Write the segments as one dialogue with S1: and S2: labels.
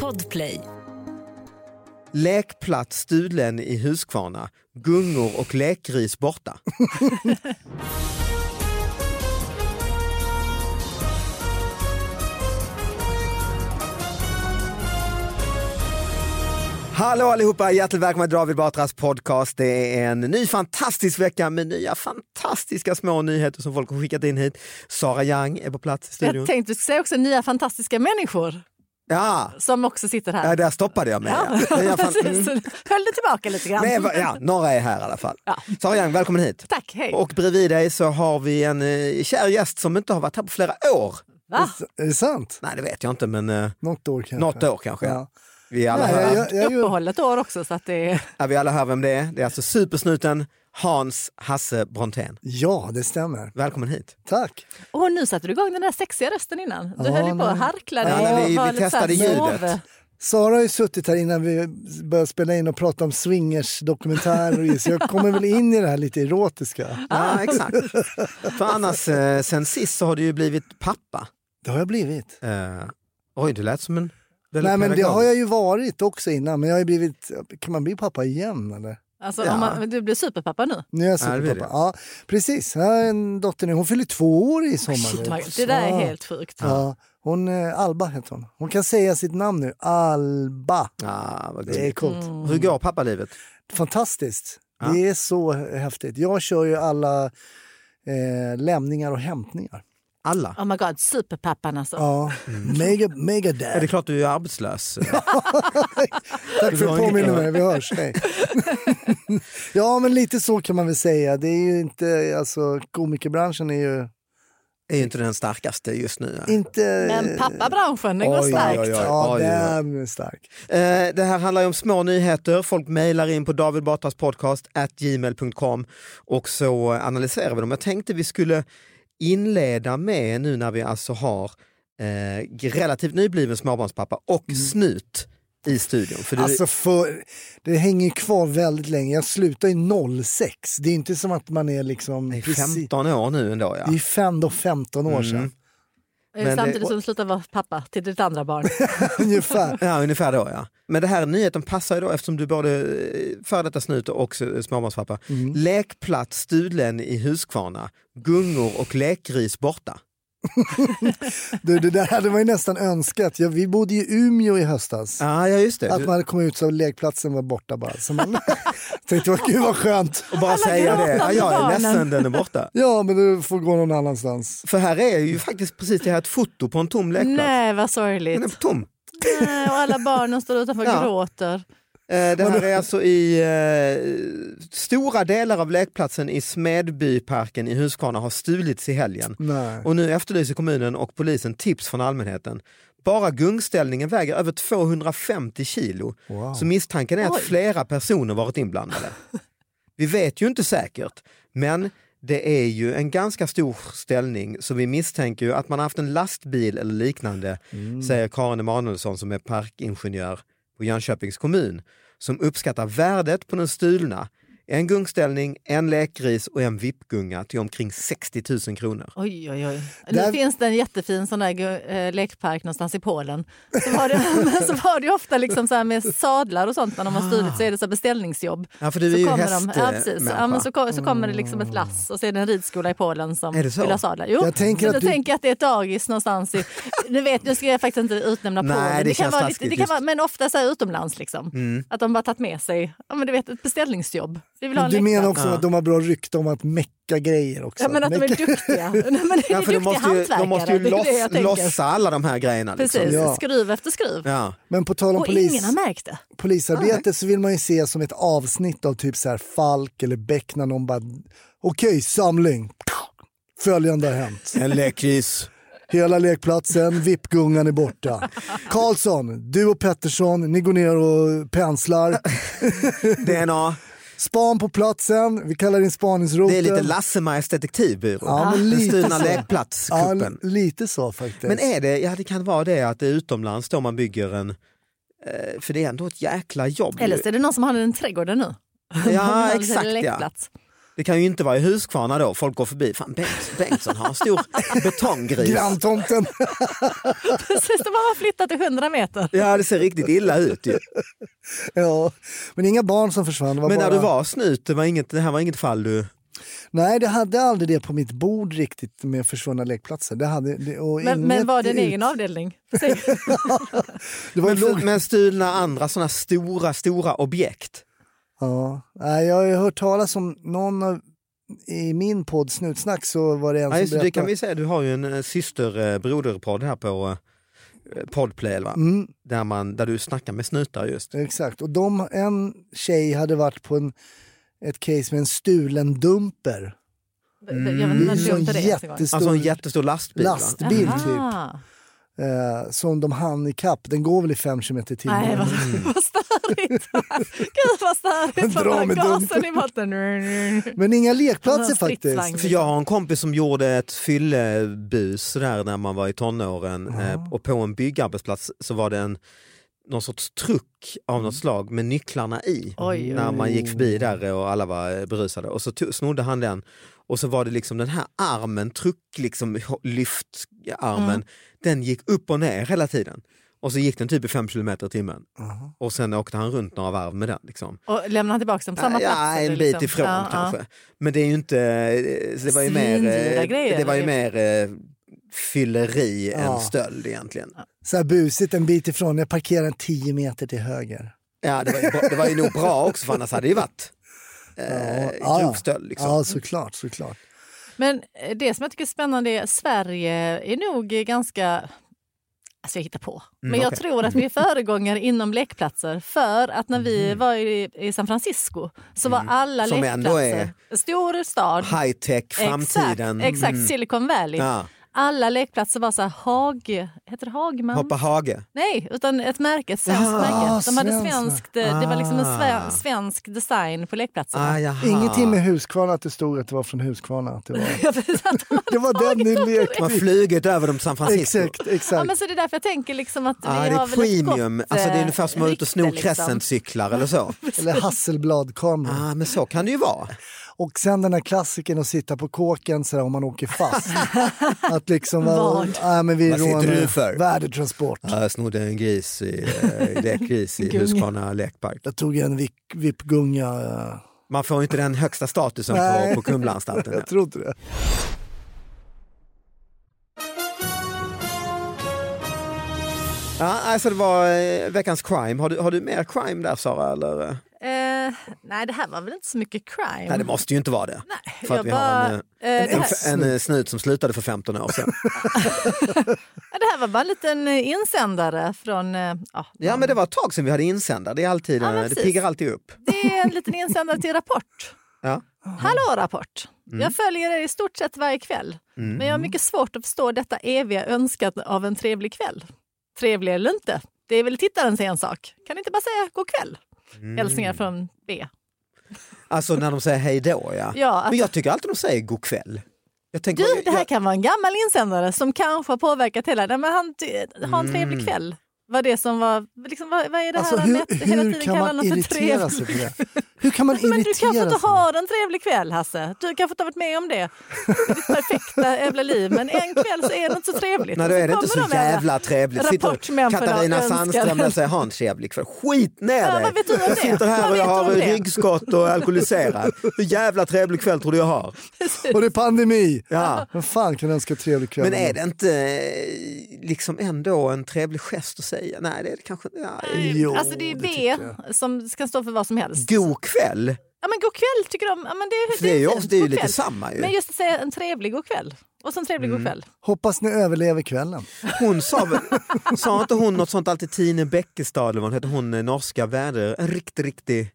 S1: Podplay.
S2: Lekplats stulen i Huskvarna. Gungor och lekgris borta. Hallå allihopa, hjärtligt välkomna till David Batras podcast. Det är en ny fantastisk vecka med nya fantastiska små nyheter som folk har skickat in hit. Sara Young är på plats i studion.
S3: Jag tänkte du skulle säga också nya fantastiska människor
S2: Ja,
S3: som också sitter här.
S2: ja, där stoppade jag mig. Ja. Jag fan-
S3: precis. Höll det tillbaka lite grann.
S2: Nej, va- ja, några är här i alla fall.
S3: Ja.
S2: Sara Young, välkommen hit.
S3: Tack, hej.
S2: Och bredvid dig så har vi en eh, kär gäst som inte har varit här på flera år.
S3: Va?
S4: Är det sant?
S2: Nej, det vet jag inte, men eh,
S4: Något år kanske.
S2: något år kanske.
S4: Ja.
S2: Vi, är alla
S4: Nej,
S2: hör,
S4: jag, jag, jag, jag,
S3: Uppehållet år också så att det är...
S2: ja, vi alla hör vem det är. Det är alltså supersnuten Hans Hasse Brontén.
S4: ja, det stämmer.
S2: Välkommen hit.
S4: Tack.
S3: Och nu satte du igång den där sexiga rösten innan. Du
S4: Ja,
S3: höll ju på och
S4: men-
S3: harklade
S2: Ja, när
S3: och
S2: vi-
S3: var
S2: vi
S3: lite så här
S2: testade ljudet.
S3: sov.
S4: Sara har ju suttit här innan vi började spela in och prata om swingers-dokumentärer. Så jag kommer väl in i det här lite erotiska.
S2: Ja, exakt. För annars, eh, sen sist så har du ju blivit pappa.
S4: Det har jag blivit.
S2: Eh, oj, du lät som en väldigt
S4: Nej, men det
S2: pedagog.
S4: har jag ju varit också innan. Men jag har ju blivit... Kan man bli pappa igen eller?
S3: Alltså,
S2: Ja. Oh
S3: om man, men du blir superpappa nu.
S4: Nu är jag
S2: Ja, det blir
S4: superpappa.
S2: det.
S4: Ja, precis. Jag har en dotter nu. Hon fyller två år i sommar. nu.
S3: Det där är
S4: Ja.
S3: helt sjukt.
S4: Ja, hon, eh, Alba heter hon. Hon kan säga sitt namn nu. Alba.
S2: Ah, vad
S4: Det är
S2: gulligt.
S4: coolt.
S2: Hur går pappalivet?
S4: Fantastiskt. Det är så häftigt. Jag kör ju alla eh, lämningar och hämtningar.
S2: Alla?
S3: Oh my god, superpappan alltså.
S4: Ja, Mm. mega, mega
S2: Är det
S4: dad.
S2: klart du är arbetslös?
S4: Tack för
S2: Det var inget
S4: påminnelsen,
S2: annat.
S4: vi hörs. Hej. ja, men lite så kan man väl säga. Det är ju inte, alltså komikerbranschen är ju
S2: är ju inte den starkaste just nu. va?
S4: inte...
S3: Men pappabranschen, den går
S2: Oj,
S3: starkt.
S2: oj, oj.
S4: Ja,
S2: Oj, oj, oj.
S4: den är stark.
S2: Eh, Det här handlar ju om små nyheter. Folk mejlar in på David Batras podcast at gmail.com och så analyserar vi dem. Jag tänkte vi skulle inleda med, nu när vi alltså har eh, relativt nybliven småbarnspappa och snut i studion. För du,
S4: Mm. Alltså för, det hänger ju kvar väldigt länge. Jag slutar ju 06. Det är inte som att man är liksom...
S2: det är
S4: precis-
S2: 15 år nu ändå ja.
S4: Det är fem, då 15 år sedan.
S2: Men
S3: Samtidigt
S2: det-
S3: som du slutar vara pappa till ditt andra barn.
S4: Ungefär.
S2: Ja, ungefär då ja. Men det här nyheten passar ju då eftersom du både eh, före detta snut och s- småbarnspappa.
S4: Mm.
S2: Lekplats stulen i Huskvarna, gungor och lekgris borta.
S4: Du, det där hade man ju nästan önskat. Ja, vi bodde i Umeå i höstas.
S2: Ah, ja, just det.
S4: Att man hade kommit ut så lekplatsen var borta bara. Så man tänkte, vad, gud vad skönt.
S2: och bara säga det. Ja,
S3: gråtande
S2: jag är
S3: barnen.
S2: ledsen, den är borta.
S4: Ja, men du får gå någon annanstans.
S2: För här är ju faktiskt precis det här ett foto på en tom lekplats.
S3: Nej, vad
S2: Den är
S3: sorgligt.
S2: tom. Eh,
S3: Nej, Eh, och alla barnen står utanför och
S2: Ja.
S3: gråter.
S2: Eh, Det här är alltså i eh, stora delar av lekplatsen i Smedbyparken i Huskvarna har stulits i helgen.
S4: Nej.
S2: Och nu efterlyser kommunen och polisen tips från allmänheten. Bara gungställningen väger över 250 kilo.
S4: Wow.
S2: Så misstanken är att
S3: Oj.
S2: flera personer varit inblandade. Vi vet ju inte säkert, men det är ju en ganska stor ställning så vi misstänker ju att man haft en lastbil eller liknande, säger Karin Emanuelsson som är parkingenjör på Jönköpings kommun, som uppskattar värdet på den stulna. En gungställning, en lekgris och en vippgunga till omkring 60 000 kronor.
S3: Oj, oj, oj.
S4: Där-
S3: Nu finns det en jättefin sån där gu- eh, lekpark någonstans i Polen. Så var det, men så var det ju ofta liksom så här med sadlar och sånt när de har stulit så är det så här beställningsjobb.
S2: Ja, för du
S3: så
S2: är ju eh,
S3: kommer ja,
S2: hästmänniska. Mm.
S3: precis. Ja, men så, ko- så kommer det liksom ett lass och så är det en ridskola i Polen som
S2: Är det så?
S3: vill ha sadlar. Jo,
S4: Jag tänker
S3: så
S4: att
S3: jag
S4: du-
S3: tänker att det är ett dagis någonstans. I, nu, vet, nu ska jag faktiskt inte utnämna
S2: Nej,
S3: Polen.
S2: det
S3: kan
S2: känns
S3: vara
S2: taskigt
S3: det kan
S2: just. Mm.
S3: vara, Men ofta så här utomlands liksom. Att de bara tagit med sig ja, men du vet, ett beställningsjobb. Vi vill ha en
S4: Du menar
S3: lekplats.
S4: också att de har bra rykte om att mecka grejer också?
S3: Ja, men att de är
S4: Mecka-
S3: duktiga. Nej, men det är
S2: Ja, för de
S3: duktiga
S2: måste ju,
S3: hantverkare.
S2: de måste ju
S3: det är det jag
S2: loss,
S3: tänker.
S2: lossa alla de här grejerna. Liksom.
S3: Precis,
S4: Ja.
S3: skruv efter skruv.
S2: Ja.
S4: men på tal om
S3: Och
S4: polis,
S3: ingen har märkt det.
S4: polisarbete så vill man ju se som ett avsnitt av typ så här Falk eller Beck när någon bara, okej samling, följande har hänt.
S2: En lekris.
S4: Hela lekplatsen, vippgungan är borta. Karlsson, du och Pettersson, ni går ner och penslar.
S2: DNA.
S4: Span på platsen, vi kallar in spaningsroteln.
S2: Det är lite Lassemajs detektivbyrå.
S4: Ja, men
S2: Den
S4: lite
S2: stulna
S4: så. Ja,
S2: lekplatskuppen.
S4: lite så faktiskt.
S2: Men är det, ja det kan vara det att det är utomlands då man bygger en eh, för det är ändå ett jäkla jobb.
S3: Eller så är det någon som har den i trädgården nu.
S2: Ja
S3: Någon
S2: exakt ja.
S3: lekplats.
S2: Det kan ju inte vara i Huskvarna då, folk går förbi, fan Bengt, Bengtsson har en stor betonggris.
S4: Granntomten.
S3: Precis, de har bara flyttat till 100 meter.
S2: Ja, det ser riktigt illa ut ju.
S4: ja. Men inga barn som försvann. det Var
S2: Men
S4: bara...
S2: när du var snut, det, var inget, det här var inget fall du...
S4: Nej, det hade aldrig det på mitt bord riktigt med försvunna lekplatser. Det hade, det, och
S3: Men, men
S4: inget
S3: var det en
S4: ut-
S3: egen avdelning? Precis.
S4: Det var
S2: Men,
S4: ju låg...
S2: men stulna andra sådana stora, stora objekt.
S4: ja. Nej, jag har ju hört talas om någon av, i min podd Snutsnack så var det en
S2: Ja, just,
S4: som
S2: det, det kan
S4: berättade.
S2: vi säga, du har ju en eh, syster eh, broderpodd här på eh, Podplay, va?
S4: Mm,
S2: Där, man, där du snackar med snutar just.
S4: exakt. Och de, en tjej hade varit på en, ett case med en stulen
S3: Mm.
S4: dumper.
S2: Mm,
S3: Jag vet inte när
S4: Det är en
S3: du
S4: sån
S3: gjorde det ens en gång.
S4: jättestor
S2: Alltså en jättestor typ. lastbil.
S4: last-
S2: Va?
S4: bild,
S3: Aha.
S4: eh, som de hann ikapp. Den går väl i 5 km i timmen.
S3: Nej, vad,
S2: Mm.
S3: vad störigt. Gud vad störigt.
S4: Dra
S3: Dra
S4: med
S3: gasen
S4: dumpen.
S3: i botten.
S4: Men inga lekplatser
S3: Någon Alltså, stridsvagn.
S4: faktiskt.
S2: För jag har en kompis som gjorde ett fyllebus där när man var i tonåren eh, och på en byggarbetsplats så var det en någon sorts truck av något slag med nycklarna i.
S3: Mm. Oj,
S2: när man gick förbi där och alla var eh, berusade och så to- snodde han den och så var det liksom den här armen, truck, liksom, ho- lyftarmen, den gick upp och ner hela tiden. Och så gick den typ i 5 km i timmen och sen åkte han runt några varv med den. Liksom.
S3: Och lämnar han tillbaka dem på samma
S2: ja,
S3: plats? eller
S2: en bit
S3: liksom?
S2: ifrån
S3: Ja, ja.
S2: kanske. Men det är ju inte... Så det var ju mer,
S3: Svindyra
S2: eh,
S3: grejer,
S2: det var ju
S3: ju.
S2: mer eh, fylleri
S4: Ja.
S2: än stöld egentligen.
S4: Så här busigt en bit ifrån. Jag parkerar 10 meter till höger.
S2: Ja, det, var ju bra, det var ju nog bra också för annars hade det ju varit eh,
S4: ja.
S2: grov stöld. Liksom.
S4: Ja, såklart, såklart.
S3: Men eh, det som jag tycker är spännande är Sverige är nog eh, ganska... Alltså jag hittar på. Men jag
S2: Mm, okej.
S3: tror att vi är föregångare inom lekplatser. För att när vi var i, i San Francisco så var alla
S2: Mm. Som ändå
S3: lekplatser... Stor stad.
S2: High tech, framtiden.
S3: Exakt, exakt
S2: Mm.
S3: Silicon Valley.
S2: Ja.
S3: Alla lekplatser var så här hag... Heter det Hagman?
S2: Hoppa hage.
S3: Nej, utan ett märke, ett svenskt
S2: Jaha,
S3: märke. De hade
S4: svenskt.
S3: svenskt, eh, det var liksom en sve,
S2: Ah.
S3: svensk design på lekplatserna.
S2: Ah, jaha.
S4: Ingenting med Huskvarna att det stod att det var från Huskvarna. Att det, var. det var den ni lekte
S2: Man flugit över dem San Francisco.
S4: Exakt,
S3: Ja,
S4: exakt.
S3: men så det är därför jag tänker liksom att
S2: Ah,
S3: vi
S2: det
S3: har
S2: är
S3: väl ett
S2: premium,
S3: gott,
S2: alltså, det är
S3: eh,
S2: ungefär som att ut och sno
S3: rykte, liksom.
S2: Crescent-cyklar eller så.
S4: Eller Hasselbladkameran.
S2: Ah, men så kan det ju vara.
S4: Och sen den här klassiken att sitta på kåken så där, om man åker fast. att liksom,
S3: Vad?
S4: Nej, men vi
S2: Vad sitter
S4: rånar
S2: du för?
S4: värdetransport.
S2: Ja, Jag snodde en gris i, eh, lekgris i Huskvarna lekpark.
S4: Jag tog en vip- vippgunga. eh,
S2: Man får ju inte den högsta statusen
S4: Nej.
S2: på, på Kumlaanstalten.
S4: Jag trodde det.
S2: Ja, alltså det var eh, veckans crime. Har du, har du mer crime där Sara? Eller? eh?
S3: Eh, nej, det här var väl inte så mycket crime.
S2: Nej det måste ju inte vara det.
S3: Mm. Nej,
S2: För att
S3: jag
S2: vi
S3: bara-
S2: har en, eh,
S3: eh, det,
S2: en,
S3: här,
S2: f- en eh, snut som slutade för 15 år sedan.
S3: ja, det här var bara en liten eh, insändare från... eh, Ja,
S2: Ja men det var ett tag sedan vi hade insändare. Det, är alltid,
S3: Ja,
S2: eh,
S3: men
S2: det
S3: precis.
S2: piggar alltid upp.
S3: Det är en liten insändare till Rapport.
S2: Ja.
S3: Hallå Rapport!
S2: Mm.
S3: Jag följer er i stort sett varje kväll. Men jag har mycket svårt att förstå detta eviga önskan av en trevlig kväll. Trevlig eller inte, det är väl tittarens ensak. Kan ni inte bara säga god kväll?
S2: Mm.
S3: Hälsningar från B.
S2: Alltså när de säger hej då ja.
S3: Ja, att-
S2: Men jag tycker alltid de säger god kväll. Jag tänker,
S3: Du, det här
S2: jag,
S3: kan vara en gammal insändare som kanske har påverkat hela... Nej, men han, ty- ha en
S2: Mm.
S3: trevlig kväll. Var det som var, liksom, vad, vad är det här
S4: Alltså,
S3: han
S4: hur,
S3: mätt- hela
S4: hur
S3: tiden
S4: kan
S3: kallar
S4: man
S3: honom för
S4: irritera
S3: trevlig?
S4: sig på det? Hur kan man
S3: Men du
S4: irritera
S3: kanske inte
S4: sig?
S3: har en trevlig kväll Hasse. Du kanske inte har varit med om det. Det är ditt perfekta jävla liv. Men en kväll så är det inte så trevligt.
S2: Nej då är det
S3: Och
S2: inte så
S3: kommer de här-
S2: jävla trevligt. Sitter
S3: rapportmänniskorna
S2: Katarina
S3: önskar-
S2: Sandström där och säger ha en trevlig kväll. Skit ner
S3: Ja, vad vet du om det?
S2: Jag sitter här
S3: Vad
S2: och
S3: vet
S2: jag
S3: du
S2: har
S3: om det?
S2: ryggskott och är alkoholiserad. Hur jävla trevlig kväll tror du jag har?
S4: Och det är pandemi!
S2: Ja.
S4: Vem fan kan önska trevlig kväll?
S2: Men är det inte eh, liksom ändå en trevlig gest att säga? Nej, det är det kanske inte. Nej.
S4: Jo,
S3: Alltså det är B
S4: tycker jag.
S3: som ska stå för vad som helst.
S2: God kväll!
S3: Ja men god kväll tycker de. Ja, men det, är-
S2: För det är ju,
S3: fint.
S2: ofta, det är ju
S3: God
S2: lite
S3: kväll.
S2: samma
S3: Men
S2: ju.
S3: just att säga en trevlig god kväll. Och så en trevlig
S2: Mm.
S3: god kväll.
S4: Hoppas ni överlever kvällen.
S2: Hon sa, väl- sa inte hon något sånt alltid Tine Bäckestad eller vad hon heter, hon eh, norska väder, en riktig, riktig...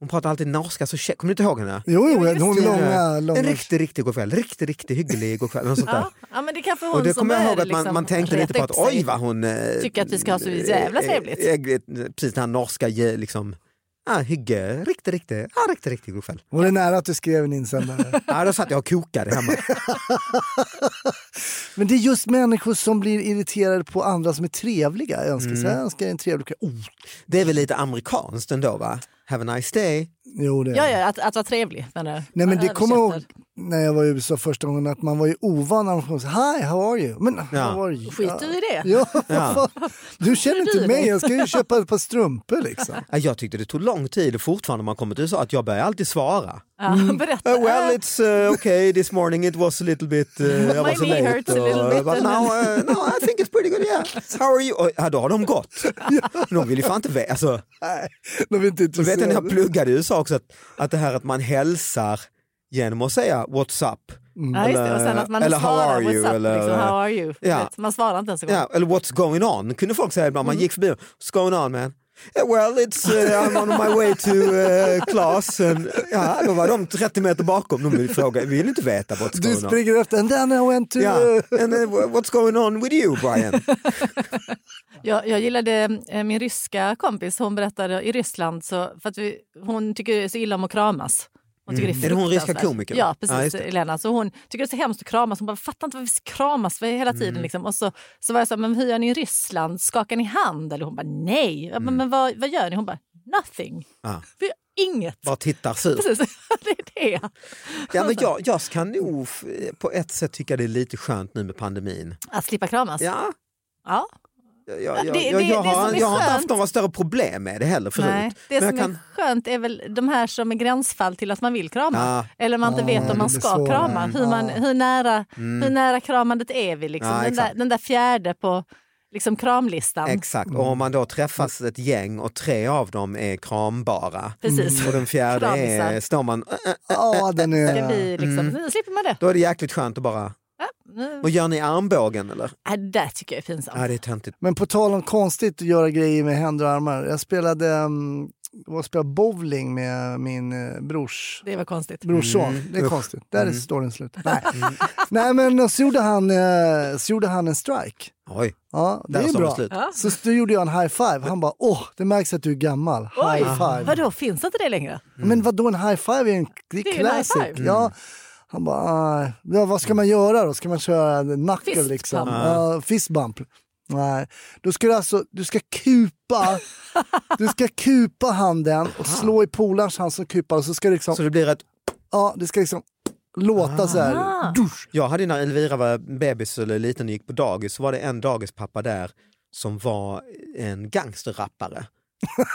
S2: Hon pratar alltid norska så tjeck, kommer du inte ihåg henne?
S4: Jo, jo,
S3: just
S4: hon
S3: det.
S4: långa,
S2: En
S4: långa...
S2: riktig, riktig god kväll, riktig, riktig hygglig god kväll. Något sånt där.
S3: Ja, ja men det är kanske hon
S2: Och det
S3: som
S2: kommer jag ihåg
S3: började
S2: att man,
S3: liksom
S2: man tänkte lite på
S3: reta
S2: att
S3: upp sig.
S2: oj vad hon... eh,
S3: Tycker att vi ska ha så jävla
S2: eh,
S3: trevligt.
S2: eh, eh, Precis, den här norska ge- liksom... Ah, hygge, riktigt, riktigt, ah, riktigt, riktigt god kväll.
S4: Var det nära att du skrev en insändare?
S2: Ja, då satt jag och kokade hemma.
S4: Men det är just människor som blir irriterade på andra som är trevliga.
S2: Mm.
S4: Jag önskar, så här, jag önskar en trevlig kväll. Oh,
S2: Det är väl lite amerikanskt ändå va? Have a nice day.
S4: Jo, det är
S3: Ja,
S4: det.
S3: ja, att, att vara trevlig. Menar, jag.
S4: Nej men
S3: Man
S4: det kommer jag ihåg
S3: översätter.
S4: när jag var i USA första gången att man var ju ovan när man sa Hi, how are you? Men
S2: Ja.
S4: how are you?
S3: Skiter du i det?
S4: Ja,
S2: Ja.
S4: vad fan. Du känner inte
S3: du
S4: mig,
S3: dig?
S4: jag ska ju köpa ett par strumpor liksom.
S2: Ja, Ah, Jag tyckte det tog lång tid och fortfarande när man kommer till USA att jag börjar alltid svara.
S3: Ja, berätta.
S2: Uh, well, it's uh, okay. This morning it was a little bit. Uh, I was
S3: knee
S2: late,
S3: hurts a little
S2: uh,
S3: bit.
S2: But now, uh, no, I think it's pretty good. Yeah. How are you? Och, ja, då har de gått. De vill ju fan inte veta. Alltså,
S4: Nej, de är inte
S2: du vet när jag
S4: intresserade.
S2: pluggade i USA också att, att det här att man hälsar genom att säga what's up.
S3: ja, just det. Och sen att man
S2: Eller, how
S3: svarar
S2: are you,
S3: WhatsApp,
S2: eller-
S3: liksom, how are you?
S2: Ja.
S3: Vet, man svarar inte ens en gång.
S2: Ja, eller what's going on kunde folk säga
S3: Mm.
S2: ibland. Man gick förbi och what's going on man? Yeah, well it's, uh, I'm on my way to uh, class. And, ja, då var de 30 meter bakom. De vill, fråga, vill inte veta what's
S4: Du
S2: going on.
S4: springer efter and then I went to...
S2: Ja, and then wh- what's going on with you Brian?
S3: Jag, jag gillade eh, min ryska kompis. Hon berättade i Ryssland, så, för att vi, hon tycker det är så illa om att kramas. Hon tycker
S2: Mm. Är det hon ryska
S3: fruktansvärt.
S2: komikern?
S3: Ja,
S2: Ja,
S3: precis.
S2: just det.
S3: Elena. Så hon tycker det är så hemskt att kramas. Hon bara, fattar inte varför vi kramas för hela
S2: Mm.
S3: tiden. Liksom. Och så, så var jag så här, men hur gör ni i Ryssland? Skakar ni hand? Eller hon bara, nej. Jag bara, men vad, vad gör ni? Hon bara, nothing.
S2: Ja.
S3: Vi gör inget.
S2: Ah, Bara tittar surt.
S3: Precis, det är det.
S2: Ja, men jag, jag kan nog f- på ett sätt tycka det är lite skönt nu med pandemin.
S3: Att slippa kramas.
S2: Ja,
S3: Ja.
S2: jag, jag, jag,
S3: Det-
S2: jag,
S3: det- det som
S2: har,
S3: är
S2: jag har inte
S3: skönt-
S2: haft några större problem med det heller förut.
S3: Nej, det
S2: Men
S3: som
S2: jag kan,
S3: är skönt är väl de här som är gränsfall till att man vill krama.
S2: Ja.
S3: Eller man inte
S4: Ja,
S3: vet
S4: det
S3: om man
S4: blir
S3: ska
S4: svårare.
S3: krama. Hur, man, hur, nära, hur nära kramandet är vi? Liksom.
S2: Mm. Ja,
S3: den, där,
S2: exakt.
S3: den där fjärde på liksom, kramlistan.
S2: Exakt,
S3: Mm.
S2: och om man då träffas ett gäng och tre av dem är krambara
S3: Precis.
S2: och den fjärde är,
S3: Kramisar.
S2: står man, äh, äh,
S4: Ja, den
S3: Det
S4: är...
S3: blir liksom,
S2: Mm.
S3: Nu slipper man det.
S2: då är det jäkligt skönt att bara,
S3: Ja, nu.
S2: och gör ni armbågen eller?
S3: Ja, det där tycker jag är pinsamt.
S2: Ja, det är töntigt.
S4: Men på tal om konstigt att göra grejer med händer och armar. Jag spelade, um, jag spelade bowling med min eh, brors
S3: Det var konstigt.
S4: brorson. Det är
S2: Mm. Usch. Mm.
S4: konstigt. Där är storyn slut. Nej, Nej men så gjorde, han, eh, så gjorde han en strike.
S2: Oj,
S4: Ja, det
S2: där
S4: är
S2: sa
S4: bra.
S2: det slut.
S3: Ja.
S4: Så då gjorde jag en high five. Han bara, åh, det märks att du är gammal.
S3: Oj,
S4: High five.
S3: Vadå, finns inte det längre?
S2: Mm.
S4: Men vad då en high five är en det är
S3: Det är ju en
S4: classic.
S3: high five.
S4: Ja. Han bara, "Ah, ja, vad ska man göra då? Ska man köra en knuckle
S3: Fist
S4: liksom?
S3: bump.
S2: Ah.
S4: Ja, fist bump. Nej, då ska du alltså, du ska kupa, du ska kupa handen och slå i polarns hand som kupar och så ska det liksom,
S2: Så det blir ett
S4: ja, det ska liksom låta så här.
S3: Ah.
S4: Dusch.
S2: Jag hade när Elvira var bebis eller liten och gick på dagis så var det en dagispappa där som var en gangsterrappare.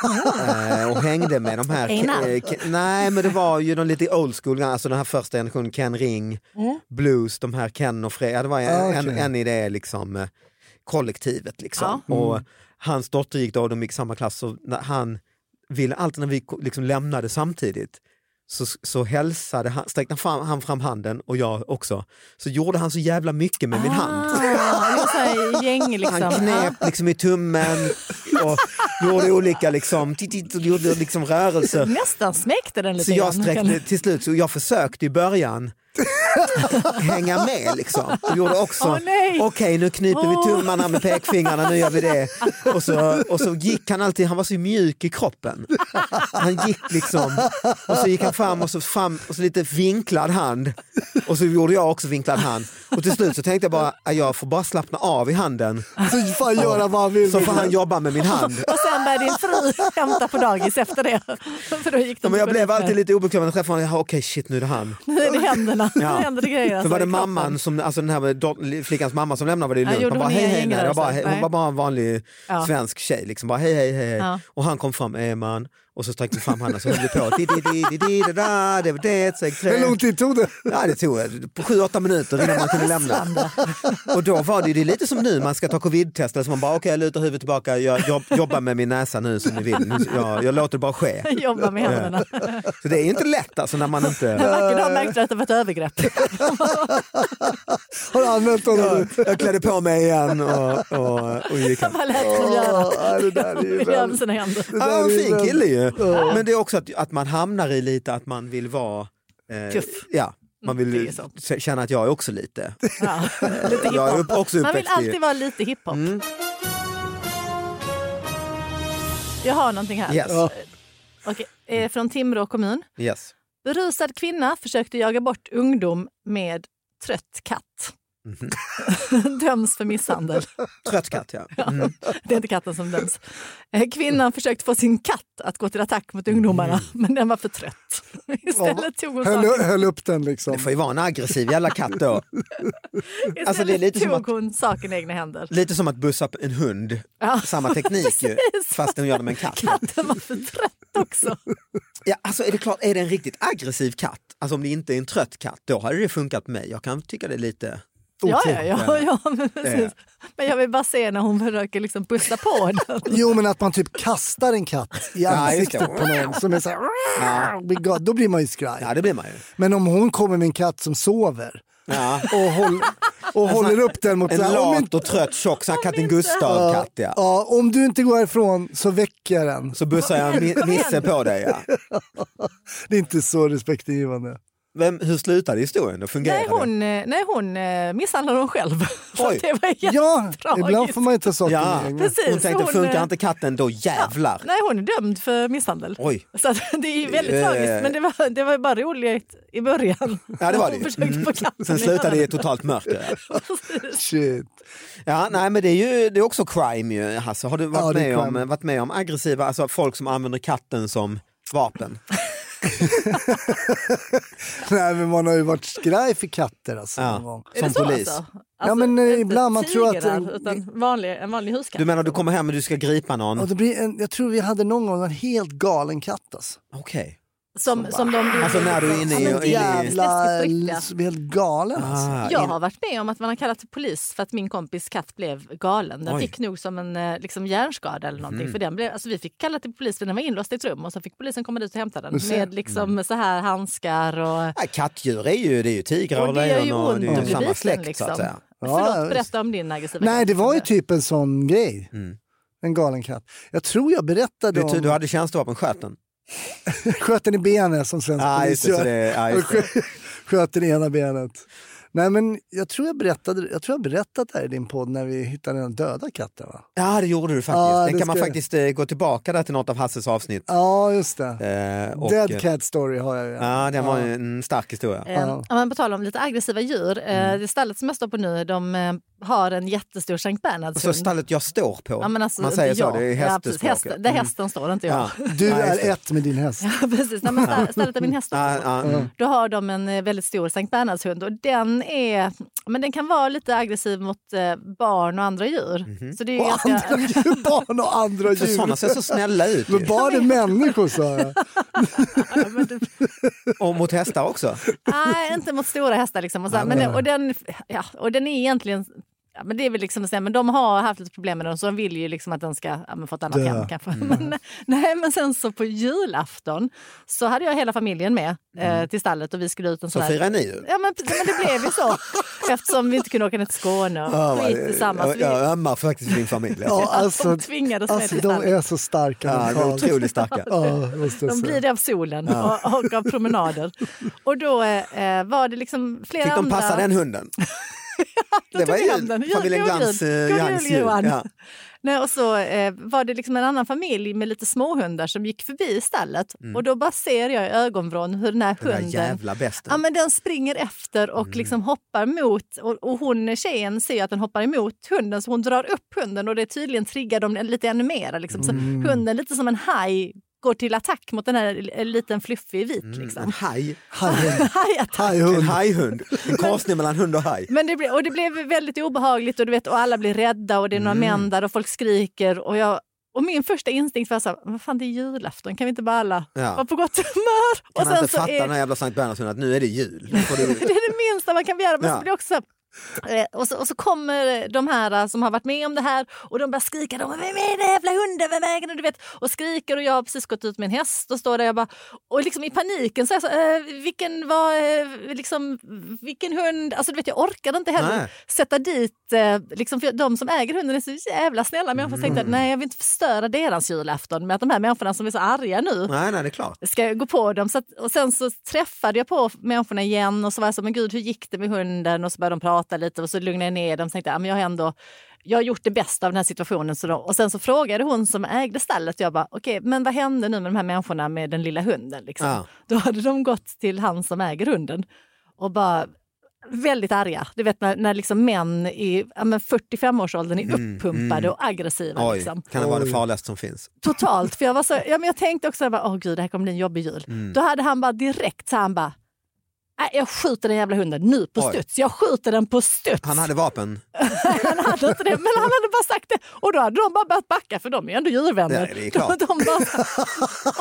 S2: eh, och hängde med de här...
S3: Einar.
S2: eh, Ke- nej, men det var ju de lite old school, alltså den här första generationen, Ken Ring, Blues, de här Ken och Fred. Ja, det var en,
S4: Mm. Ah, okej.
S2: en, en i det liksom, eh, kollektivet. Liksom.
S4: Mm.
S2: Och hans dotter gick då, och de gick i samma klass, så när han ville alltid när vi ko- liksom lämnade samtidigt så, så hälsade han, sträckte han fram, han fram handen och jag också. Så gjorde han så jävla mycket med min hand.
S3: Ah, det var så här gäng liksom.
S2: Han knep liksom i tummen och gjorde olika liksom, titt, titt, och gjorde liksom
S3: Ah,
S2: rörelser.
S3: Nästan smekte den lite
S2: Så jag
S3: grann.
S2: sträckte till slut, så jag försökte i början hänga med liksom. Och gjorde också,
S3: Åh, nej.
S2: okej nu kniper
S3: Åh.
S2: vi tummarna med pekfingrarna, nu gör vi det. Och så, och så gick han alltid, han var så mjuk i kroppen. Han gick liksom, och så gick han fram och så, fram, och så lite vinklad hand. Och så gjorde jag också vinklad hand. Och till slut så tänkte jag bara, "Ah, jag får bara slappna av i handen.
S4: Så fan göra vad han vill.
S2: Så får han jobba med min hand.
S3: Och sen började din fru hämta på dagis efter det. För då gick de
S2: Ja, Men jag
S3: på
S2: blev
S3: lite-
S2: alltid lite obekväm när jag träffade honom, Jaha, okej shit nu är det han.
S3: Nu är det händerna.
S2: Ja.
S3: Nu händer det grejer.
S2: För
S3: alltså,
S2: var det
S3: i kroppen.
S2: mamman, som, alltså den här dot- flickans mamma som lämnade var det
S3: Ja,
S2: lugnt.
S3: gjorde
S2: Man
S3: hon
S2: bara hej
S3: inga
S2: hej, nej.
S3: gängrörelser?
S2: Jag bara, hej. Hon
S3: Nej.
S2: var bara en vanlig
S3: Ja.
S2: svensk tjej. Liksom. Bara, hej hej hej.
S3: Ja.
S2: Och han kom fram, är man. Och så sträckte vi fram handen så höll vi på. Di, di, di, di, di, da, da, det var det, steg tre.
S4: Hur lång tid tog det?
S2: Ja, det tog eh, på sju, åtta minuter innan man kunde lämna. Och då var det ju det är lite som nu, man ska ta covid-test. Alltså man bara, okej jag lutar huvudet tillbaka, jag jobb, jobbar med min näsa nu som ni vill. Nu- Jag, jag låter det bara ske.
S3: Jobba med händerna.
S2: Så det är ju inte lätt alltså när man inte...
S3: En vacker dag märkte du att det var ett övergrepp.
S4: Har du använt honom?
S2: Jag, jag klädde på mig igen och, och, och gick hem.
S3: Vad lät hon göra?
S4: Ja, det där är ju
S3: Göra med
S4: väldigt...
S3: sina händer.
S4: det där
S2: Ja, en
S4: är ju
S2: fin
S4: väldigt-
S2: kille ju. Men det är också att, att man hamnar i lite att man vill vara... eh,
S3: Tuff. Mm,
S2: Ja, man vill
S3: det är så.
S2: k- känna att jag är också lite.
S3: Ja. Lite
S2: Jag är Mm.
S3: hiphop.
S2: upp, också
S3: Man vill
S2: uppväxt i...
S3: alltid vara lite hiphop. Jag har någonting här.
S2: Yes.
S3: Okej, eh, Från Timrå kommun.
S2: yes.
S3: Berusad kvinna försökte jaga bort ungdom med trött katt.
S2: Mhm.
S3: döms för misshandel.
S2: Trött katt, ja. Mm.
S3: Det är inte katten som döms. Eh, Kvinnan försökte få sin katt att gå till attack mot
S2: Mm.
S3: ungdomarna, men den var för trött. Istället tog hon
S4: Höll,
S3: saken,
S4: höll upp den liksom.
S2: Det får ju vara en aggressiv jävla katt då. alltså, det är lite
S3: istället
S2: som
S3: tog
S2: att-
S3: hon saken i egna händer.
S2: Lite som att bussa upp en hund.
S3: Ja.
S2: Samma teknik ju,
S3: Precis.
S2: fast den gör det med en katt.
S3: Katten var för trött också.
S2: Ja, alltså är det klart, är det en riktigt aggressiv katt, alltså om det inte är en trött katt, då hade det funkat med mig. Jag kan tycka det är lite...
S3: Ja, ja, ja, ja men, precis. men jag vill bara se när hon försöker liksom pussa på den.
S4: Jo men att man typ kastar en katt i
S2: Ja, just det.
S4: ansiktet på någon som är så här, "Blir galen." då blir man ju skraj.
S2: Ja, det blir man ju.
S4: Men om hon kommer med en katt som sover
S2: Ja.
S4: och, håll, och håller upp den mot
S2: En
S4: så
S3: Alltså,
S4: här, om,
S2: lat
S4: inte,
S2: och trött tjock sån här katten Gustav-katt. Ja.
S4: ja, om du inte går härifrån så väcker jag den.
S2: Så bussar jag
S3: Kom igen,
S2: mi-
S3: kom igen.
S2: Nisse på dig. Ja.
S4: Det är inte så respektingivande.
S2: Vem, hur slutade historien? Då fungerade
S3: Nej, hon, eh, nej, hon eh, misshandlade hon själv. Så
S2: Oj.
S3: det var jätte-
S4: Ja,
S3: Tragiskt.
S4: ibland får man ju ta saker
S2: Ja.
S4: med egna.
S3: Precis,
S2: Hon tänkte,
S3: hon,
S2: funkar
S3: eh,
S2: inte katten då jävlar.
S3: Nej, hon är dömd för misshandel.
S2: Oj,
S3: Så att, det är ju väldigt
S2: Eh.
S3: tragiskt, men det var, det var ju bara roligt i början.
S2: ja det var det
S3: Hon
S2: ju. Mm.
S3: försökte få katten
S2: Sen slutade det
S3: i
S2: i totalt mörker.
S4: Shit.
S2: Ja, nej men det är ju det är också crime ju Hasse. Har du varit,
S4: Ja, det är
S2: med,
S4: crime.
S2: om, varit med om aggressiva, alltså folk som använder katten som vapen?
S4: Nej, men man har ju varit skraj för katter alltså.
S2: Ja.
S4: någon gång.
S3: Är det
S2: som
S3: så
S2: polis.
S3: Alltså?
S4: Ja, men, eh,
S3: inte
S4: ibland man tror att-
S3: tigrar, Utan vanlig, en vanlig huskatt.
S2: Du menar du kommer hem och du ska gripa någon?
S4: Och det blir en, jag tror vi hade någon gång en helt galen katt alltså.
S2: Okej.
S3: Som, som de...
S2: Alltså när du är inne
S4: Ja,
S2: i...
S4: men
S2: inne i
S4: jävla,
S3: Släskigt riktiga.
S4: som är helt galen alltså.
S2: ah,
S3: Jag
S2: in-
S3: har varit med om att man har kallat till polis för att min kompis katt blev galen. Den
S2: Oj.
S3: fick nog som en eh, liksom, hjärnskada eller någonting. För den blev, alltså, vi fick kalla till polis för den var inlåst i ett rum och så fick polisen komma dit och hämta den
S4: ser.
S3: med liksom, så här handskar och...
S2: Nej, kattdjur är ju, det är ju tigrar
S3: Och det gör ju ont
S2: det är
S3: att
S2: ju
S3: bli
S2: samma
S3: biten,
S2: släkt så
S3: liksom.
S2: att säga.
S4: ja,
S3: Förlåt, berätta om din aggressiva
S4: Nej,
S3: katt.
S4: det var ju typ en sån grej.
S2: Mm.
S4: En galen katt. Jag tror jag berättade
S2: Du,
S4: om...
S2: du hade tjänstevapen, sköt den?
S4: sköt den i benet som svensk
S2: Ja, Ah, just
S4: polis
S2: det, så
S4: gör.
S2: det, ja,
S4: Jag
S2: just det.
S4: skö- sköt den i ena benet. Nej, men jag tror jag berättade, jag tror jag berättade det här i din podd när vi hittade den döda katten va?
S2: ja, det gjorde du faktiskt.
S4: Ja,
S2: den
S4: det
S2: kan man
S4: ska-
S2: faktiskt eh, gå tillbaka där till något av Hasses avsnitt.
S4: Ja, just det.
S2: Eh, och, eh,
S4: Dead cat story har jag ju.
S2: Ja, det var ju en stark historia.
S3: Eh,
S4: Ja.
S3: om man på tal om lite aggressiva djur. Eh, det stallet som jag står på nu, de eh, har en jättestor Sankt
S2: Och så
S3: Bernhardshund.
S2: stallet jag står på.
S3: Ja, men alltså,
S2: man säger
S3: jag.
S2: så, det är
S3: ja, precis,
S2: hästespråket. Mm.
S3: hästen, Där hästen står, inte jag.
S2: Ja.
S4: Du
S2: Ja, just det.
S4: är ett med din häst.
S3: Ja, precis. Nej, men stall- stallet där min häst står.
S2: Ja, ja, mm.
S3: Då har de en eh, väldigt stor Sankt Bernhardshund och den, är, men den kan vara lite aggressiv mot eh, barn och andra djur.
S2: Mhm.
S3: Så det är ju
S4: Och
S3: ganska...
S4: andra djur, barn och andra
S2: För sådana
S4: djur.
S2: ser så snälla ut
S4: Men
S2: ju.
S4: barn är människor sa jag.
S3: Ja, men det-
S2: Och mot hästar också.
S3: Nej, inte mot stora hästar. Liksom och, så, här. men, den- och, den, ja, och den är egentligen... Ja, men det är väl liksom att säga, men de har haft lite problem med den så de vill ju liksom att den ska ja, men få ett annat
S4: Dö.
S3: hem kanske.
S2: Mm.
S3: Men, nej, men sen så på julafton så hade jag hela familjen med eh, till stallet och vi skulle ut en
S2: Mm. Så
S3: sån här...
S2: firar ni ju.
S3: Ja men, precis, men det blev ju så eftersom vi inte kunde åka ner till Skåne och
S2: Ja,
S3: skit
S2: vad-
S3: tillsammans.
S2: jag,
S3: Vi,
S2: jag ömmar faktiskt för din familj. alltså.
S4: Ja, alltså,
S3: de tvingades med
S4: alltså,
S3: till
S4: de
S3: stallet.
S4: är så starka
S2: Ja, de är
S4: mentalt.
S2: otroligt starka.
S4: Ja, måste jag
S3: De blir
S4: säga.
S3: det av solen och, och av promenader. Och då eh, var det liksom flera
S2: Fick de
S3: andra...
S2: passa den hunden?
S3: Då tog vi hem
S2: ju
S3: den. Ja,
S2: familjen
S3: god
S2: Glans
S3: jul.
S2: eh,
S3: God
S2: Johans
S3: jul,
S2: jul.
S3: Johan.
S2: Ja.
S3: Nej, och så eh, var det liksom en annan familj med lite småhundar som gick förbi stallet och då bara ser jag i ögonvrån hur den här
S2: Mm. Den där
S3: hunden
S2: jävla
S3: Ja,
S2: besten.
S3: men den springer efter och
S2: Mm.
S3: liksom hoppar mot och, och hon tjejen ser att den hoppar emot hunden så hon drar upp hunden och det tydligen triggar dem lite ännu mer. Liksom. Så
S2: Mm.
S3: hunden lite som en haj går till attack mot den här eh, liten fluffig vit.
S2: Mm, En
S3: Liksom.
S2: haj.
S4: Haj-
S3: Hajattack.
S2: En
S4: Hajhund.
S2: hajhund. En korsning mellan hund och haj.
S3: Men det blev, och det blev väldigt obehagligt och, du vet, och alla blir rädda och det är några
S2: Mm.
S3: män där och folk skriker. Och, jag, och min första instinkt var så här, vad fan det är julafton, kan vi inte bara alla
S2: Ja.
S3: vara på gott humör?
S2: Kan
S3: och
S2: han inte
S3: så
S2: fatta den här jävla Sankt Bernhardshunden att nu är det jul? Nu får
S3: det
S2: du-
S3: är det minsta man kan begära. Men
S2: Ja.
S3: så blir det också, eh, och, så, och så kommer de här eh, som har varit med om det här och de börjar skrika. De, Vem är den jävla hunden? Vem äger den? Du vet, och skriker och jag har precis gått ut med en häst och står där. Jag bara, och liksom i paniken så är jag så, eh, vilken var, eh, liksom, vilken hund? Alltså du vet, jag orkade inte heller
S2: Nej.
S3: sätta dit, eh, liksom, för de som äger hunden är så jävla snälla människor. Så tänkte jag,
S2: Mm.
S3: nej jag vill inte förstöra deras julafton med att de här människorna som är så arga nu
S2: Nej, nej, det är klart.
S3: ska jag gå på dem. Så att, och sen så träffade jag på människorna igen och så var jag så, men gud hur gick det med hunden? Och så började de prata lite och så lugnade jag ner dem och tänkte, ja, men jag har ändå jag har gjort det bästa av den här situationen. Så de, och sen så frågade hon som ägde stallet, jag bara, okej, men vad hände nu med de här människorna med den lilla hunden? Liksom?
S2: Ja.
S3: Då hade de gått till han som äger hunden och bara, väldigt arga. Du vet när, när liksom män i ja, men 45-årsåldern är uppumpade
S2: mm.
S3: och aggressiva.
S2: Oj,
S3: liksom.
S2: kan det vara det
S4: Oj.
S2: farligaste som finns?
S3: Totalt. För jag, var så, ja, men jag tänkte också, jag bara, åh gud det här kommer bli en jobbig jul.
S2: Mm.
S3: Då hade han bara direkt så här, han bara, Nej, jag skjuter den jävla hunden nu på
S2: Oj.
S3: studs. Jag skjuter den på studs.
S2: Han hade vapen.
S3: han hade inte det, men han hade bara sagt det. Och då hade de bara börjat backa för de är ändå djurvänner.
S2: Ja, det är klart.
S3: De, de bara,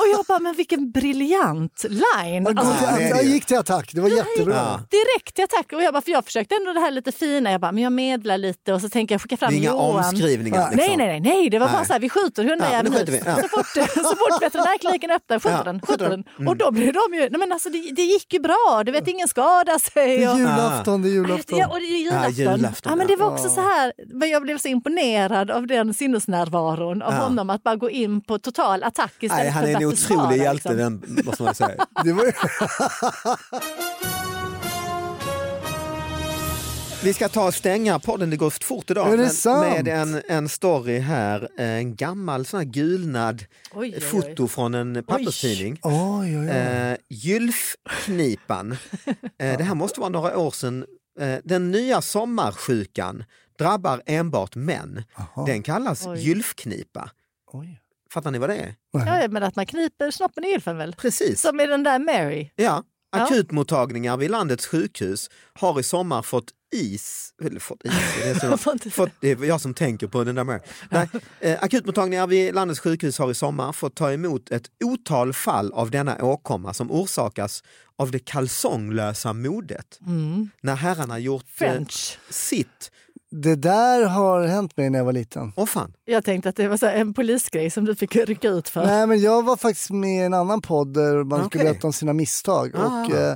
S3: och jag bara, men vilken briljant line.
S4: Han
S3: Alltså,
S4: gick, till,
S2: det är det
S4: han
S2: ju.
S4: gick till attack, det var jättebra.
S2: Ja.
S3: direkt i attack. Och jag bara, för jag försökte ändå det här lite fina. Jag bara, men jag medlar lite och så tänker jag skicka
S2: Det
S3: fram
S2: är inga
S3: Johan.
S2: omskrivningar.
S4: Ja.
S2: Liksom.
S3: Nej, nej, nej, nej, det var bara
S2: Nej.
S3: så här, vi skjuter hundar
S2: Ja,
S3: ja,
S2: nu
S3: nu.
S2: skjuter vi, ja.
S3: Så fort, så fort veterinärkliniken öppnar, skjuter
S2: Ja,
S3: den,
S2: skjuter
S3: skjuter
S2: den.
S3: den. Och då blir de ju, nej men alltså det, det gick ju bra, du vet ingen skadade sig.
S4: Det
S3: Och,
S4: är julafton, det är julafton.
S3: Ja, och det är julafton.
S2: Ja, julafton,
S3: ja, men det var
S4: ja.
S3: också så här, men jag blev så imponerad av den sinnesnärvaron av
S2: Ja.
S3: honom att bara gå in på total attack istället
S2: Nej, han
S3: för
S2: är en
S3: att försvara,
S2: otrolig hjälte,
S3: liksom.
S2: den, måste man säga.
S4: Det var ju...
S2: Vi ska ta och stänga podden, det går fort idag.
S4: Är det
S2: men-
S4: sant?
S2: Med en, en story här, en gammal sån här gulnad
S3: Oj, oj, oj.
S2: foto från en papperstidning.
S4: Oj, oj, oj.
S2: Eh, Gylfknipan. eh, det här måste vara några år sedan. Eh, den nya sommarsjukan drabbar enbart män.
S4: Jaha.
S2: Den kallas
S3: Oj.
S2: gylfknipa.
S4: Oj.
S2: Fattar ni vad det är?
S3: Ja, men att man kniper snoppen i gylfen väl?
S2: Precis.
S3: Som i den där Mary.
S2: Ja.
S3: Ja.
S2: Akutmottagningar vid landets sjukhus har i sommar fått is, eller fått is, det är så
S3: Får inte-
S2: Fått, det är jag som tänker på den där med. Nej, eh, akutmottagningar vid landets sjukhus har i sommar fått ta emot ett otal fall av denna åkomma som orsakas av det kalsonglösa modet.
S4: eh,
S3: Mm.
S2: När herrarna gjort eh,
S3: French.
S2: sitt.
S4: Det där har hänt mig när jag var liten.
S2: Åh fan,
S3: Jag tänkte att det var så här en polisgrej som du fick rycka ut för.
S4: Nej, men jag var faktiskt med i en annan podd där man skulle
S2: Okej.
S4: berätta om sina misstag.
S2: Ah.
S4: Och, eh,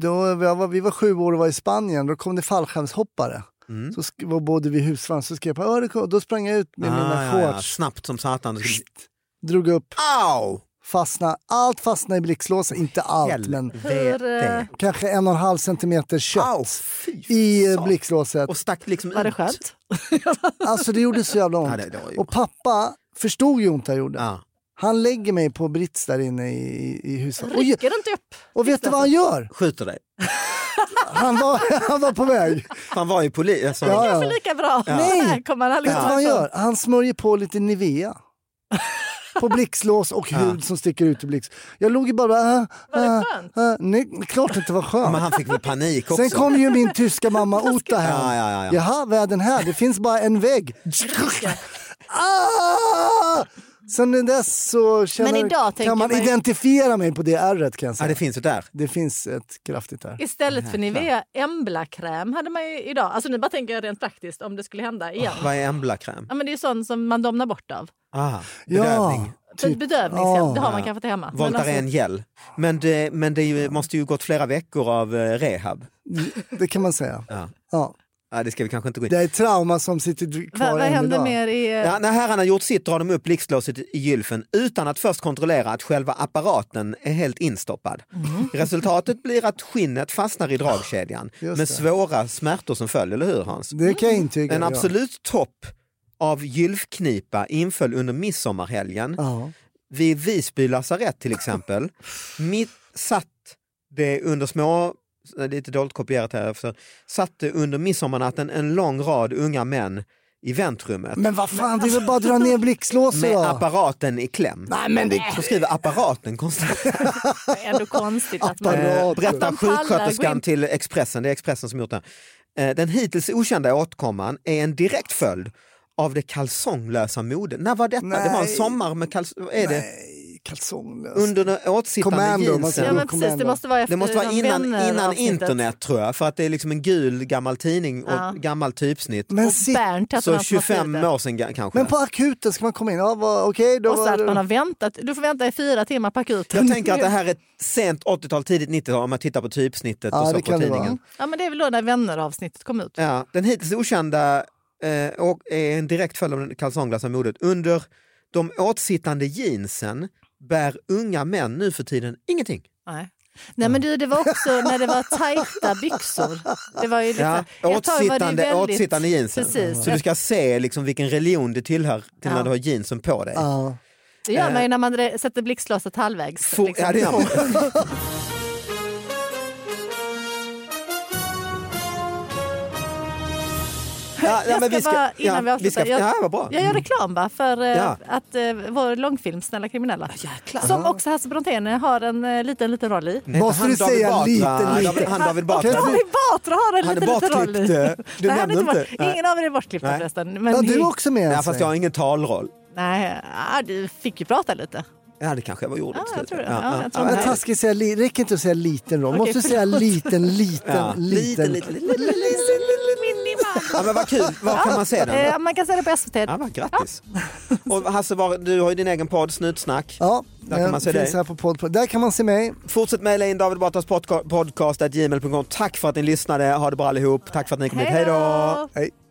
S4: då, vi, var, vi var sju år och var i Spanien, då kom det fallskärmshoppare.
S2: Mm.
S4: Så sk- var både vi i husvagn, så skrev jag på, "Ja, det kom." och då sprang jag ut med mina
S2: Ah, ja, ja.
S4: shorts,
S2: snabbt som satan.
S4: drog upp,
S2: Au!
S4: fastna, allt fastnade i blixtlåset, inte allt men
S2: Helvete.
S4: kanske en och en halv centimeter kött
S2: eh, Au, fy
S4: i eh,
S2: fan.
S4: blixtlåset.
S2: Och stack liksom
S3: Var det
S2: ut.
S3: skönt?
S4: Alltså det gjorde så jävla ont.
S2: Ja, det, Ah. det var ju...
S4: Och pappa förstod ju hur ont jag gjorde.
S2: ja.
S4: Han lägger mig på brits där inne i, i, i huset. Och,
S3: Rycker du inte upp?
S4: och vet du vad han
S2: alltså.
S4: gör?
S2: Skjuter dig.
S4: Han var, han var på väg.
S2: Han var ju polis. Alltså,
S4: Ja,
S3: Kanske lika bra.
S4: Nej.
S3: Här kommer han aldrig
S4: Vet du vad han
S3: ifrån.
S4: gör? Han smörjer på lite Nivea. På blixtlås och
S2: Ja.
S4: hud som sticker ut i blixt. Jag låg ju bara... Äh,
S3: Var
S4: äh,
S3: det skönt?
S4: äh. Nej, klart inte var
S2: Men
S4: skönt.
S2: han fick väl panik också.
S4: Sen kom ju min tyska mamma Ota
S2: ja,
S4: hem.
S2: ja, ja, ja.
S4: Jaha, vad är den här? Det finns bara en vägg. Ah! Sen dess så
S3: Men
S4: känner,
S3: idag tänker
S4: kan man
S3: man ju-
S4: identifiera mig på det ärret kan jag
S2: ja,
S4: säga.
S2: det finns ju där.
S4: Det finns ett kraftigt här.
S3: Istället för Nivea Embla-kräm hade man ju idag. Alltså nu bara tänker jag rent praktiskt om det skulle
S4: Ah.
S3: hända igen.
S2: Vad är Embla-kräm?
S3: Ja, men det är ju sånt som man domnar bort av.
S2: Ah,
S4: Ja,
S2: bedövning.
S3: Typ.
S4: typ.
S3: Bedövningshjälp,
S4: Ja.
S3: det har man kanske till hemma. Men
S2: Voltaren
S3: alltså,
S2: gel. Men det, men det är ju, måste ju gått flera veckor av eh, rehab.
S4: det kan man säga.
S2: Ja.
S4: Ja.
S2: Ja, det ska vi kanske inte gå in
S4: Det är ett trauma som sitter
S3: vad,
S4: kvar
S3: vad
S4: än
S3: händer
S4: idag.
S3: mer i...
S2: Ja, när herrarna gjort sitt drar de upp blixtlåset i gylfen utan att först kontrollera att själva apparaten är helt instoppad.
S4: Mm.
S2: Resultatet blir att skinnet fastnar i dragkedjan
S4: Ah, Just
S2: med
S4: det.
S2: svåra smärtor som följer, eller hur Hans?
S4: Det kan jag intyga.
S2: Mm. En
S4: ja.
S2: absolut topp av gylfknipa inföll under midsommarhelgen.
S4: Ja.
S2: Vid Visby lasarett till exempel, mitt, satt det under små, lite dåligt kopierat här, för, satt det under midsommarnatten en lång rad unga män i väntrummet
S4: Men vad fan, det är väl bara att dra ner blixtlåset
S2: med
S4: då?
S2: apparaten i kläm.
S4: Nej men det...
S2: Så skriver apparaten konstant.
S3: Det eh, är ändå konstigt att man...
S4: Apparat.
S2: Eh,
S4: Apparaten.
S2: Berättar
S3: Man pallar, gå
S2: sjuksköterskan
S3: in-
S2: till Expressen, det är Expressen som gjort det. här. Eh, Den hittills okända åtkomman är en direkt följd av det kalsonglösa modet. När var detta? Det var en
S4: Nej.
S2: sommar med kalsonger. Är det
S4: Nej, kalsonglös.
S2: under den åtsittande
S4: Commando, man
S2: jeansen?
S4: säger.
S3: Ja, men
S4: Kom
S3: precis,
S4: igen
S3: det
S4: då.
S3: måste vara efter
S2: Det måste vara
S3: någon
S2: innan, innan
S3: vänner-avsnittet.
S2: internet tror jag, för att det är liksom en gul gammal tidning och
S3: Ja.
S2: gammal typsnitt.
S4: Men,
S3: Och
S4: sit...
S3: Bernt hette
S2: Så
S3: han som var
S2: 25
S3: fyrde.
S2: år sedan ga- kanske.
S4: men på akuten ska man komma in. Ja, vad- Okej, då
S3: Och så
S4: var
S3: att man
S4: det...
S3: har väntat. Du får vänta i fyra timmar på akuten.
S2: jag tänker att det här är sent 80-tal, tidigt 90-tal om man tittar på typsnittet
S4: Ja,
S2: och så
S4: det
S2: på
S4: kan det vara.
S2: tidningen.
S3: Ja, men det är väl då när vänner-avsnittet kom ut.
S2: Ja, den hittills okända eh, och är en direkt följd av den kalsonglösa modet. Under de åtsittande jeansen bär unga män nu för tiden ingenting.
S3: Nej. Nej men du, det var också när det var tajta byxor. Det var ju lite,
S2: Ja,
S3: ett tag var det ju
S2: åtsittande,
S3: väldigt-
S2: åtsittande jeansen.
S3: Precis.
S2: Så du ska se liksom vilken religion det tillhör till
S3: Ja.
S2: när du har jeansen på dig.
S4: Ja.
S3: Det gör
S2: Eh.
S3: man ju när man re- sätter blixtlåset liksom. halvvägs.
S2: Få-
S3: liksom.
S2: ja, det gör man. Ja, ja,
S3: jag ska,
S2: men vi ska-
S3: bara, innan
S2: ja,
S3: vi avslutar,
S2: vi
S3: jag,
S2: ska- ja, vad bra. Mm.
S3: jag gör reklam va, för eh,
S2: Ja.
S3: att, eh, vår långfilm Snälla kriminella, som också Hasse Brontén har en eh, liten, liten roll i.
S2: Heter
S4: Måste
S2: han
S4: du
S2: David
S4: säga
S2: Batra?
S4: lite, lite?
S2: David- Han David
S3: Och
S2: Batra.
S3: David Batra har en
S2: Han är
S3: liten, liten roll i.
S2: bortklippt, eh, du
S3: Nej, han är
S2: nämnde
S3: inte
S2: inte.
S3: bort, ingen av er är bortklippt
S2: Nej.
S3: förresten. Men
S4: Ja, du
S3: ni-
S4: också med
S2: Ja,
S4: än så
S2: fast jag har ingen talroll.
S3: Nej, ja, du fick ju prata lite.
S2: Ja, det kanske jag var gjorde
S3: Ja,
S2: till
S3: jag
S2: slut.
S3: tror det. Ja, jag tror
S4: länge.
S2: men
S3: det.
S4: Men
S2: här-
S4: taskigt att säga li- räcker inte att säga liten roll.
S3: Okej,
S4: Måste du säga
S3: förlåt.
S4: liten, liten,
S2: Ja,
S4: liten?
S2: lite, lite, lite, lite, lite. Ja, men vad kul. Var kan man se den?
S3: Eh, man kan se det på SVT.
S2: Ja, vad grattis. Och Hasse, var, du har ju din egen podd Snutsnack.
S4: Ja,
S2: Där kan man se
S4: den finns
S2: dig.
S4: Här på podd. Där kan man se mig.
S2: Fortsätt mejla in David Batras podca- podcast at gmail.com. Tack för att ni lyssnade. Ha det bra allihop. Tack för att ni kom hit. Hej då!
S4: Hej.